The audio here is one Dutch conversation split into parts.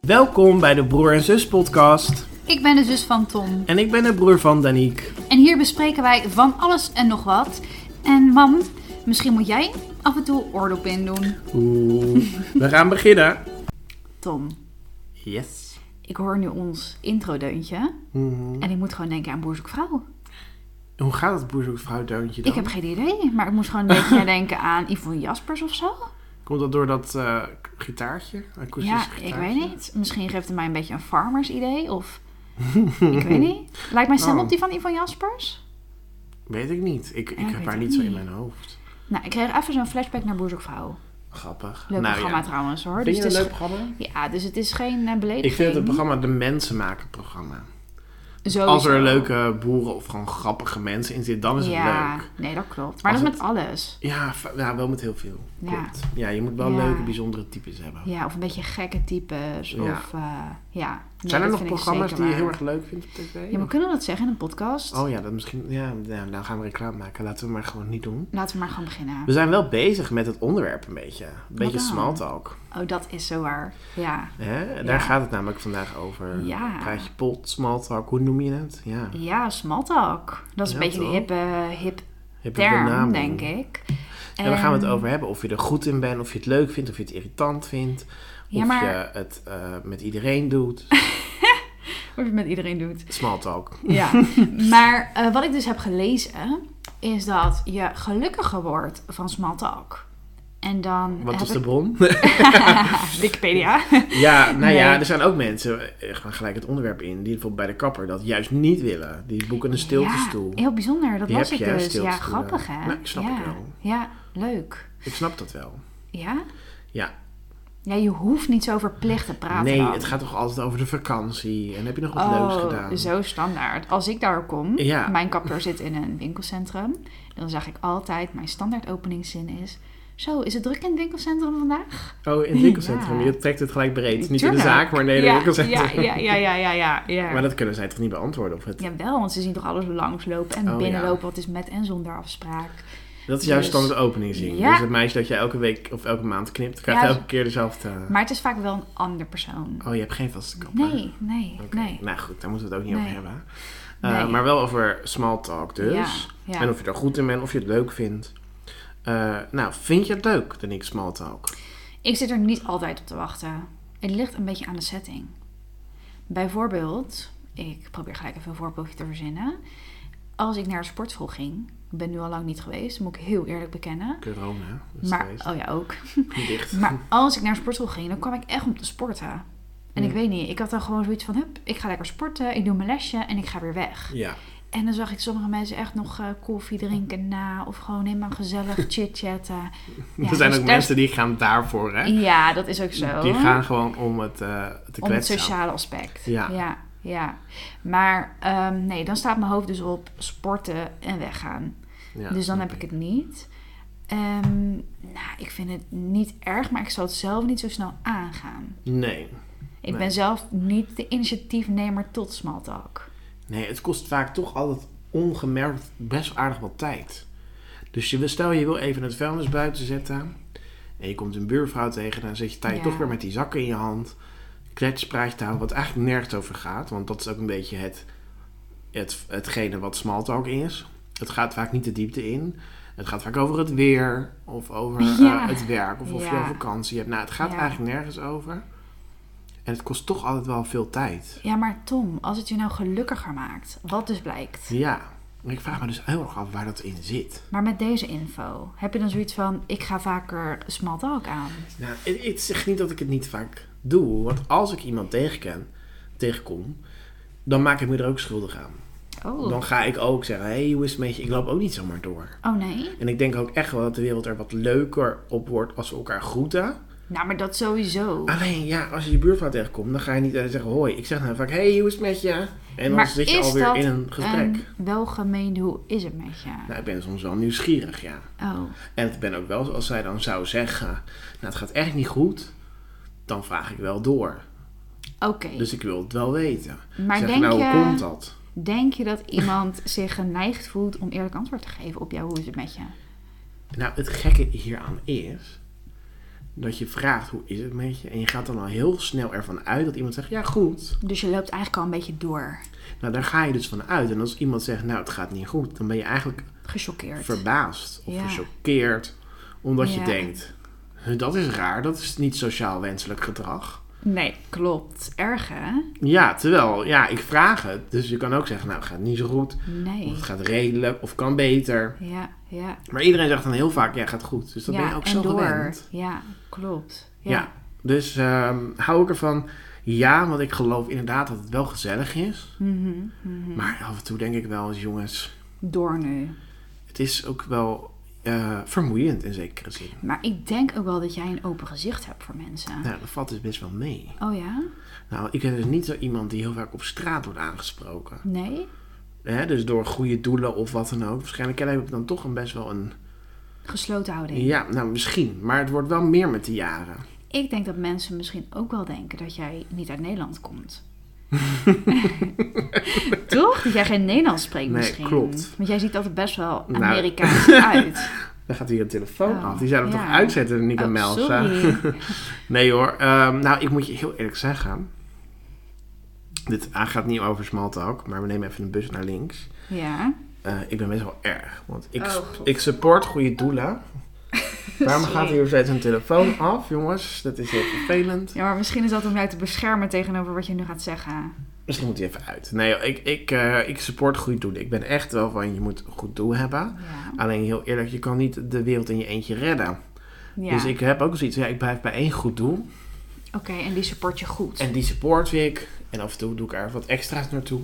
Welkom bij de Broer en Zus podcast. Ik ben de zus van Tom En ik ben de broer van Daniek. en hier bespreken wij van alles en nog wat. En mam, misschien moet jij af en toe oordop in doen. Oeh, we gaan beginnen. Tom, Yes. ik hoor nu ons introdeuntje Mhm. en ik moet gewoon denken aan Boer zoekt vrouw. Hoe gaat het boerzoekvrouw deuntje dan? Ik heb geen idee, maar ik moest gewoon een beetje denken aan Yvonne Jaspers of zo. Komt dat door dat eh, k- gitaartje? Akoestisch ja, gitaartje? ik weet niet. Misschien geeft het mij een beetje een farmers idee of... ik weet niet. Lijkt mijn stem Oh. op die van Yvonne Jaspers? Weet ik niet. Ik, ik ik heb weet haar het niet zo in niet. mijn hoofd. Nou, ik kreeg even zo'n flashback naar Boer zoekt vrouw. Grappig. Leuk Nou ja. programma trouwens hoor. Vind Dus je het het een is leuk programma? ge- Ja, dus het is geen eh, belediging. Ik vind het een programma de mensen maken programma. Sowieso. Als er leuke boeren of gewoon grappige mensen in zitten, dan is het ja, leuk. nee, dat klopt. Maar Als dat is met alles. Ja, fa- ja, wel met heel veel. Ja. Klopt. Ja, je moet wel Ja. leuke, bijzondere types hebben. Ja, of een beetje gekke types. Ja. Of, eh, ja. Nee, Zijn er dat nog vind ik programma's zeker die je waar. heel erg leuk vindt op tv? Ja, maar kunnen we dat zeggen in een podcast? Oh ja, dat misschien. Ja, ja, nou gaan we reclame maken. Laten we maar gewoon niet doen. Laten we maar gewoon beginnen. We zijn wel bezig met het onderwerp een beetje. Een beetje dan? small talk. Oh, dat is zo waar. Ja. Hè? Daar Ja. gaat het namelijk vandaag over. Ja. Praat je pot, small talk, hoe noem je het? Ja. Ja, small talk. Dat is Ja, een beetje toch? een hippe, hip Heb je term, de naam? denk ik. En daar gaan we het Ehm, over hebben. Of je er goed in bent, of je het leuk vindt, of je het irritant vindt. Ja, of maar- je het eh, met iedereen doet. Of je het met iedereen doet. Small talk. Ja. maar eh, wat ik dus heb gelezen, is dat je gelukkiger wordt van small talk. En dan Wat heb is ik- de bron? Wikipedia. Ja, nou ja, Nee. er zijn ook mensen, eh, gaan gelijk het onderwerp in, die bijvoorbeeld bij de kapper dat juist niet willen. Die boeken een stilte stoel. Ja, heel bijzonder. Dat Die was heb ik je, hè, dus. Ja, stiltestoelen. grappig hè? Nou, ik snap ja. het wel. Ja, leuk. Ik snap dat wel. Ja? Ja, Ja, je hoeft niet zo verplicht te praten nee, dan. het gaat toch altijd over de vakantie en heb je nog wat oh, leuks gedaan? zo standaard. Als ik daar kom, Ja. mijn kapper zit in een winkelcentrum. Dan zeg ik altijd, mijn standaard openingszin is... Zo, is het druk in het winkelcentrum vandaag? Oh, in het winkelcentrum, Ja. je trekt het gelijk breed. Niet in de Tuurlijk. zaak, maar nee, in het ja, winkelcentrum. Ja, ja, ja, ja, ja, ja. ja. Maar dat kunnen zij toch niet beantwoorden? Of het, Jawel, want ze zien toch alles langslopen en Oh, binnenlopen. ja. Wat is met en zonder afspraak? dat is jouw dus- standaard openingszin. Ja. Dus het meisje dat je elke week of elke maand knipt, krijgt Ja, elke keer dezelfde... Maar het is vaak wel een ander persoon. Oh, je hebt geen vaste kapper? Nee, nee, Oké, nee. Nou goed, daar moeten we het ook niet Nee. over hebben. Eh, Nee. Maar wel over small talk dus. Ja, ja. En of je er goed in bent, of je het leuk vindt. Eh, nou, vind je het leuk, dan ik small talk? Ik zit er niet altijd op te wachten. Het ligt een beetje aan de setting. Bijvoorbeeld, ik probeer gelijk even een voorbeeldje te verzinnen. Als ik naar de sportschool ging, ik ben nu al lang niet geweest, moet ik heel eerlijk bekennen. Corona, dat is Maar, geweest. oh ja, ook. dicht. Maar als ik naar de sportschool ging, dan kwam ik echt om te sporten. En ik weet niet, ik had dan gewoon zoiets van, hup, ik ga lekker sporten, ik doe mijn lesje en ik ga weer weg. Ja, En dan zag ik sommige mensen echt nog eh, koffie drinken na of gewoon helemaal gezellig chit-chatten. Ja, er zijn dus ook daar- mensen die gaan daarvoor, hè? Ja, dat is ook zo. Die gaan gewoon om het eh, te Om het kwetsen. sociale aspect. Ja. ja. ja. Maar ehm, nee, dan staat mijn hoofd dus op sporten en weggaan. Ja, dus dan snap heb ik het niet. Ehm, nou, ik vind het niet erg, maar ik zal het zelf niet zo snel aangaan. Nee. Ik Nee. ben zelf niet de initiatiefnemer tot small talk. nee, het kost vaak toch altijd ongemerkt best aardig wat tijd. Dus je, wil- stel je wil even het vuilnis buiten zetten... en je komt een buurvrouw tegen... dan zit je, sta je Ja. toch weer met die zakken in je hand... kletspraatje te houden, wat eigenlijk nergens over gaat. Want dat is ook een beetje het, het, hetgene wat smalltalk is. Het gaat vaak niet de diepte in... Het gaat vaak over het weer, of over eh, Ja. het werk, of of je Ja. een vakantie hebt. Nou, het gaat Ja. eigenlijk nergens over. En het kost toch altijd wel veel tijd. Ja, maar Tom, als het je nou gelukkiger maakt, wat dus blijkt. Ja, maar ik vraag me dus heel erg af waar dat in zit. Maar met deze info, heb je dan zoiets van, ik ga vaker small talk aan? Nou, het, het zegt niet dat ik het niet vaak doe, want als ik iemand tegenken, tegenkom, dan maak ik me er ook schuldig aan. Oh, Dan ga ik ook zeggen, hé, hey, hoe is het met je? Ik loop ook niet zomaar door. oh nee? En ik denk ook echt wel dat de wereld er wat leuker op wordt als we elkaar groeten. Nou, maar dat sowieso. Alleen, ja, als je je buurvrouw tegenkomt, dan ga je niet eh, zeggen hoi. Ik zeg dan vaak, hé, hey, hoe is het met je? En dan maar zit je is alweer dat in een gesprek. een welgemeende hoe is het met je? Nou, ik ben soms wel nieuwsgierig, ja. Oh, En ik ben ook wel, als zij dan zou zeggen, nou het gaat echt niet goed, dan vraag ik wel door. oké. Dus ik wil het wel weten. maar zeg, denk, nou, je, hoe komt dat? denk je dat iemand zich geneigd voelt om eerlijk antwoord te geven op jou hoe is het met je? Nou, het gekke hieraan is dat je vraagt hoe is het met je. En je gaat dan al heel snel ervan uit dat iemand zegt, ja goed. Dus je loopt eigenlijk al een beetje door. Nou, daar ga je dus van uit. En als iemand zegt, nou het gaat niet goed, dan ben je eigenlijk Gechoqueerd. verbaasd of Ja. gechoqueerd. Omdat je Ja. denkt, dat is raar, dat is niet sociaal wenselijk gedrag. nee, klopt. Erg hè? Ja, terwijl, ja, ik vraag het. Dus je kan ook zeggen, nou het gaat niet zo goed. Of Nee. het gaat redelijk, of kan beter. Ja, ja. Maar iedereen zegt dan heel vaak, ja gaat goed. Dus dat ja, ben je ook en zo door. gewend. Ja, klopt. Ja. Dus ehm, hou ik ervan. Ja, want ik geloof inderdaad dat het wel gezellig is. Mhm, mhm. Maar af en toe denk ik wel eens, jongens, Door nu. het is ook wel eh, vermoeiend in zekere zin. Maar ik denk ook wel dat jij een open gezicht hebt voor mensen. Nou, dat valt dus best wel mee. Oh ja? Nou, ik ben dus niet zo iemand die heel vaak op straat wordt aangesproken. Nee? Hè, dus door goede doelen of wat dan ook. Waarschijnlijk heb ik dan toch een best wel een... Gesloten houding. Ja, nou misschien. Maar het wordt wel meer met de jaren. Ik denk dat mensen misschien ook wel denken dat jij niet uit Nederland komt. Toch? Dat jij geen Nederlands spreekt Nee, misschien. klopt. Want jij ziet altijd best wel Nou. Amerikaans uit. Dan gaat hier een telefoon Oh, af. Die zouden we ja. toch uitzetten, Nick en Oh, Melza? sorry. Nee hoor. Ehm, nou, ik moet je heel eerlijk zeggen. Dit ah, gaat niet over Smalltalk, maar we nemen even een bus naar links. Ja. Eh, ik ben best wel erg, want ik, Oh, s- God. ik support goede doelen. Waarom Sorry. gaat hier steeds een telefoon af, jongens? Dat is heel vervelend. ja, maar misschien is dat om jou te beschermen tegenover wat je nu gaat zeggen. Misschien moet hij even uit. Nee, joh, ik, ik, eh, ik support goede doelen. Ik ben echt wel van, je moet een goed doel hebben. Ja. Alleen heel eerlijk, je kan niet de wereld in je eentje redden. ja. Dus ik heb ook zoiets, ja, ik blijf bij één goed doel. Oké, en die support je goed. En die support ik. En af en toe doe ik er wat extra's naartoe.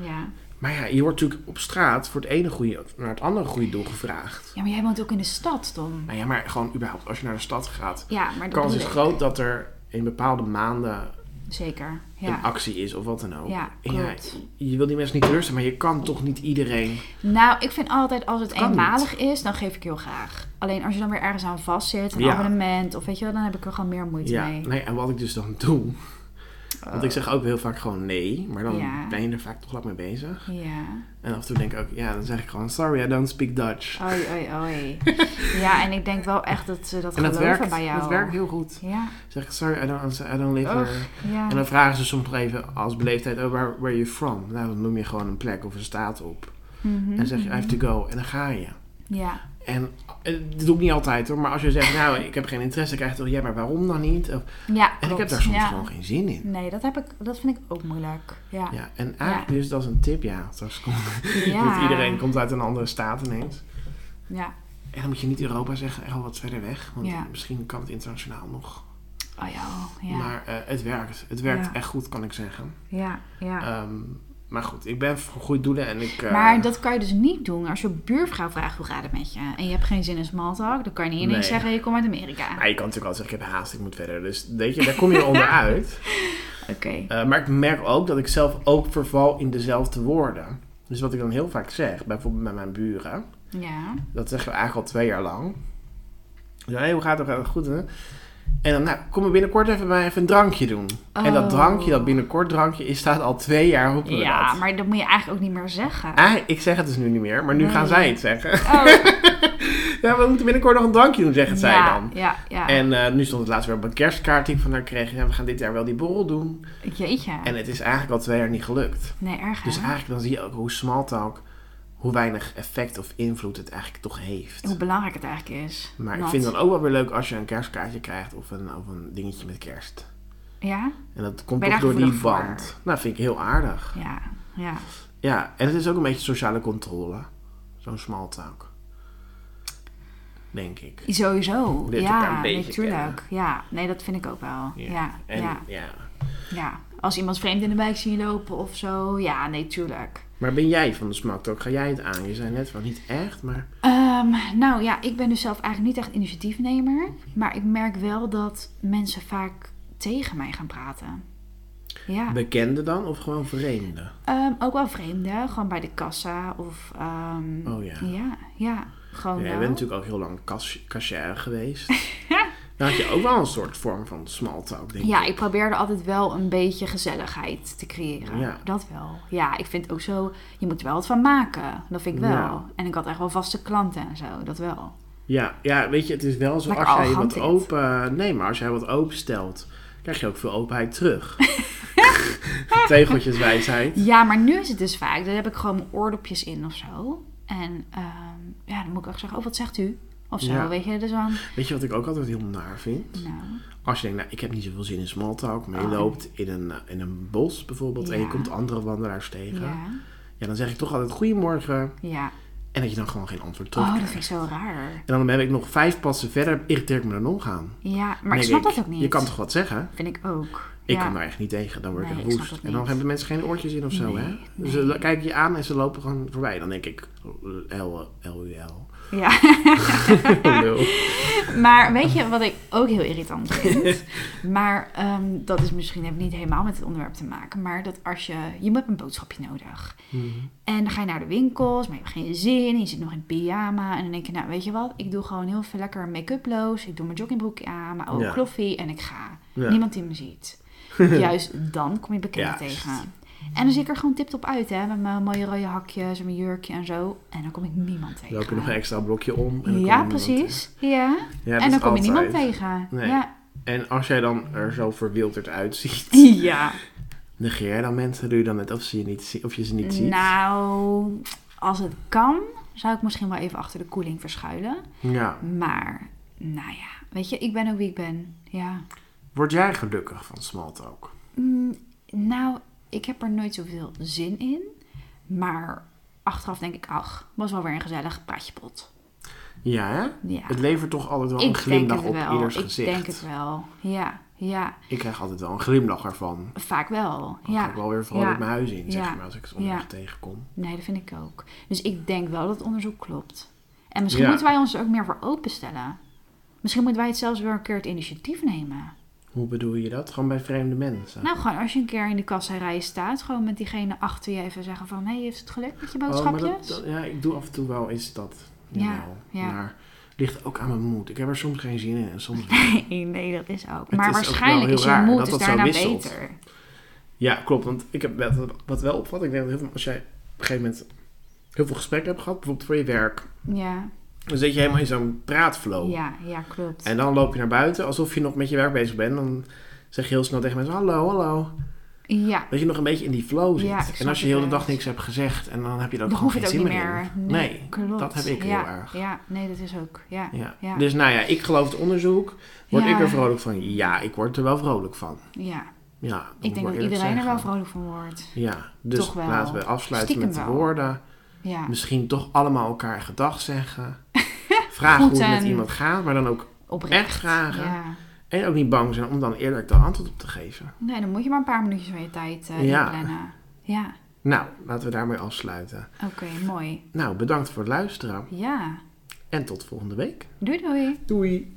Ja. Maar ja, je wordt natuurlijk op straat voor het ene goede naar het andere goede doel gevraagd. ja, maar jij woont ook in de stad, Tom. Nou ja, maar gewoon überhaupt, als je naar de stad gaat, Ja, maar de dat kans bedoel is ik. groot dat er in bepaalde maanden Zeker. een Ja. actie is of wat dan ook. Ja, En ja, klopt. je wil die mensen niet teleurstellen, maar je kan toch niet iedereen. Nou, ik vind altijd als het kan niet. eenmalig is, dan geef ik heel graag. Alleen als je dan weer ergens aan vast zit, een Ja. abonnement of weet je wel, dan heb ik er gewoon meer moeite Ja, mee. Oh. nee, en wat ik dus dan doe. Want ik zeg ook heel vaak gewoon nee, maar dan Ja. ben je er vaak toch lang mee bezig. Ja. En af en toe denk ik ook, ja, dan zeg ik gewoon, sorry, I don't speak Dutch. Oei, oei, oei. ja, en ik denk wel echt dat ze dat en dat geloven werkt, bij jou. dat werkt heel goed. Ja, Zeg ik, sorry, I don't, I don't live Och, here. ja. En dan vragen ze soms nog even als beleefdheid, oh, where, where are you from? Nou, dan noem je gewoon een plek of een staat op. Mhm. En dan zeg je, I have to go. En dan ga je. ja. En eh, dat doe ik niet altijd hoor, maar als je zegt, nou, ik heb geen interesse, dan krijg je toch, ja, maar waarom dan niet? Of- Ja, en ik heb klopt. daar soms ja. gewoon geen zin in. Nee, dat, heb ik, dat vind ik ook moeilijk. Ja. Ja, en eigenlijk dus dat is een tip, ja. Straks komt, Ja. want iedereen komt uit een andere staat ineens. Ja. En dan moet je niet Europa zeggen, echt wel wat verder weg. Want Ja. misschien kan het internationaal nog. Oh ja, oh, ja. Maar eh, het werkt. Het werkt Ja. echt goed, kan ik zeggen. ja, ja. Ehm, maar goed, ik ben voor goede doelen en ik... eh, Maar dat kan je dus niet doen als je buurvrouw vraagt hoe gaat het met je. En je hebt geen zin in smalltalk. Dan kan je niet ineens Nee. zeggen je komt uit Amerika. Maar je kan natuurlijk altijd zeggen, ik heb haast, ik moet verder. Dus weet je, daar kom je onderuit. Oké. Eh maar ik merk ook dat ik zelf ook verval in dezelfde woorden. Dus wat ik dan heel vaak zeg, bijvoorbeeld met mijn buren. Ja. Dat zeggen we eigenlijk al twee jaar lang. Ja, hey, hoe gaat het? Gaat het goed? Hè? En dan, nou, kom er binnenkort even bij, even een drankje doen. En dat Oh. drankje, dat binnenkort drankje, is, staat al twee jaar op Ja, maar dat moet je eigenlijk ook niet meer zeggen. Ah, ik zeg het dus nu niet meer, maar nu Nee. gaan zij het zeggen. Oh, Ja, we moeten binnenkort nog een drankje doen, zegt zij ja, dan. Ja, ja. En eh, nu stond het laatst weer op een kerstkaart die ik van haar kreeg. Ja, we gaan dit jaar wel die borrel doen. Jeetje. En het is eigenlijk al twee jaar niet gelukt. nee, erg hè? Dus eigenlijk dan zie je ook hoe smalltalk, hoe weinig effect of invloed het eigenlijk toch heeft. Hoe belangrijk het eigenlijk is. Maar ik Want- vind het ook wel weer leuk als je een kerstkaartje krijgt of een, of een dingetje met kerst. Ja? En dat komt Ben je toch daar door die gevoelig voor? band. Nou, vind ik heel aardig. Ja. Ja. Ja, en het is ook een beetje sociale controle. Zo'n smalltalk. Denk ik. Sowieso. Leert elkaar ja, een beetje natuurlijk. Ja. Nee, dat vind ik ook wel. Ja. Ja. En, ja. ja. Als iemand vreemd in de wijk zien lopen of zo. Ja, nee, tuurlijk. Maar ben jij van de smalltalk? Ga jij het aan? Je zei net van niet echt, maar... Ehm, nou ja, ik ben dus zelf eigenlijk niet echt initiatiefnemer. Maar ik merk wel dat mensen vaak tegen mij gaan praten. Ja, Bekende dan of gewoon vreemde? Ehm, ook wel vreemden. Gewoon bij de kassa of... ehm, Oh ja. Ja, ja, gewoon Ja, je Oh, wel. bent natuurlijk ook heel lang cas- cashier geweest. Dan had je ook wel een soort vorm van small talk, denk ik. Ja, ik probeerde altijd wel een beetje gezelligheid te creëren. Ja. Dat wel. Ja, ik vind ook zo... Je moet er wel wat van maken. Dat vind ik wel. Ja. En ik had echt wel vaste klanten en zo. Dat wel. Ja, ja, weet je, het is wel zo. Lekker als jij je arrogant wat dit. open. Nee, maar als jij wat openstelt, krijg je ook veel openheid terug. Tegeltjeswijsheid. Ja, maar nu is het dus vaak. Daar heb ik gewoon mijn oordopjes in of zo. En ehm, ja, dan moet ik ook zeggen, oh, wat zegt u? Of zo, Ja. weet je. Dus dan, Weet je wat ik ook altijd heel naar vind? nou, Als je denkt, nou, ik heb niet zoveel zin in small talk, maar je Oh. loopt in een, in een bos bijvoorbeeld en je Ja. komt andere wandelaars tegen. Ja. ja. dan zeg ik toch altijd goedemorgen Ja. en dat je dan gewoon geen antwoord Oh, dat terugkrijgt. vind ik zo raar. En dan heb ik nog vijf passen verder, irriteer ik me er nog aan. Ja, maar ik Dan snap denk dat ook niet. Je kan toch wat zeggen? Vind ik ook. Ik ja. kan daar echt niet tegen, dan word ik Nee, echt ik snap woest. dat En dan niet. hebben mensen geen oortjes in of zo, Nee, hè? Dus nee. Ze l- kijken je aan en ze lopen gewoon voorbij. Dan denk ik, eh, L- L-U-L. Ja. Lul. Maar weet je wat ik ook heel irritant vind? maar ehm, dat is misschien heeft niet helemaal met het onderwerp te maken. Maar dat als je... Je hebt een boodschapje nodig. Mhm. En dan ga je naar de winkels, maar je hebt geen zin. en Je zit nog in pyjama. En dan denk je, nou weet je wat? Ik doe gewoon heel veel lekker make-uploos. Ik doe mijn joggingbroekje aan, mijn oude Ja. kloffie. En ik ga. Ja. Niemand die me ziet. Juist dan kom je bekenden Juist. tegen. En dan zie ik er gewoon tip-top uit, hè. Met mijn mooie rode hakjes en mijn jurkje en zo. En dan kom ik niemand tegen. Dan loop je nog een extra blokje om. En dan komt Ja, niemand tegen. precies. Ja. Ja, dat en dan is kom je niemand altijd. tegen. Nee. Ja. En als jij dan er zo verwilderd uitziet, ja. negeer jij dan mensen, doe je dan net of, ze je, niet zie- of je ze niet ziet? Nou, als het kan, zou ik misschien wel even achter de koeling verschuilen. Ja. Maar, nou ja, weet je, ik ben ook wie ik ben. Ja. Word jij gelukkig van smalltalk? Mm, nou, ik heb er nooit zoveel zin in. Maar achteraf denk ik, ach, was wel weer een gezellig praatje pot. Ja, hè? Ja. Het levert toch altijd wel een Ik denk glimlach het op wel. ieders Ik gezicht. denk het wel. Ja, ja. Ik krijg altijd wel een glimlach ervan. Vaak wel. Dan ga Ja. ik wel weer vrolijk Ja. mijn huis in, zeg Ja. maar, als ik het onderweg Ja. tegenkom. Nee, dat vind ik ook. Dus ik denk wel dat het onderzoek klopt. En misschien Ja. moeten wij ons er ook meer voor openstellen. Misschien moeten wij het zelfs weer een keer het initiatief nemen. Hoe bedoel je dat? Gewoon bij vreemde mensen? Nou, gewoon als je een keer in de kassairij staat, gewoon met diegene achter je even zeggen van... Hé, hey, heeft het gelukt met je dus? Oh, maar dat- boodschapjes? dat- ja, ik doe af en toe wel eens dat. Nou, Ja, Jawel. ja. Maar het ligt ook aan mijn moed. Ik heb er soms geen zin in en soms wel. Nee, nee, dat is ook. Het maar is ook waarschijnlijk wel is heel je raar moed dat is dat zo daarna wisselt. beter. Ja, klopt. Want ik heb wel- wat wel opvalt. Ik denk dat heel veel, als jij op een gegeven moment heel veel gesprekken hebt gehad, bijvoorbeeld voor je werk, Ja, dan zit je helemaal in zo'n praatflow. ja, ja, klopt. Oh. En dan loop je naar buiten alsof je nog met je werk bezig bent. Dan zeg je heel snel tegen mensen: hallo, hallo. Ja, Dat je nog een beetje in die flow zit. Ja, ik snap en als je heel de het dag best. niks hebt gezegd en dan heb je er ook dan gewoon hoef je geen het ook zin niet meer meer. in. klopt. dat heb ik heel Ja, erg. Ja, nee, dat is ook. Ja, Ja. Ja. Dus nou ja, ik geloof het onderzoek. Word Ja. ik er vrolijk van? Ja, ik word er wel vrolijk van. ja. Ja, dat moet ik denk dat eerlijk iedereen er wel zeggen. vrolijk van wordt. Ja, dus Toch wel. laten we afsluiten Stiekem met de wel. woorden. Ja. Misschien toch allemaal elkaar gedag zeggen. Vraag Goed hoe het met en- iemand gaat, maar dan ook Oprecht. echt vragen. Ja. En ook niet bang zijn om dan eerlijk de antwoord op te geven. Nee, dan moet je maar een paar minuutjes van je tijd eh Ja. inplannen. Ja, Nou, laten we daarmee afsluiten. oké, mooi. Nou, bedankt voor het luisteren Ja, en tot volgende week. doei doei. Doei!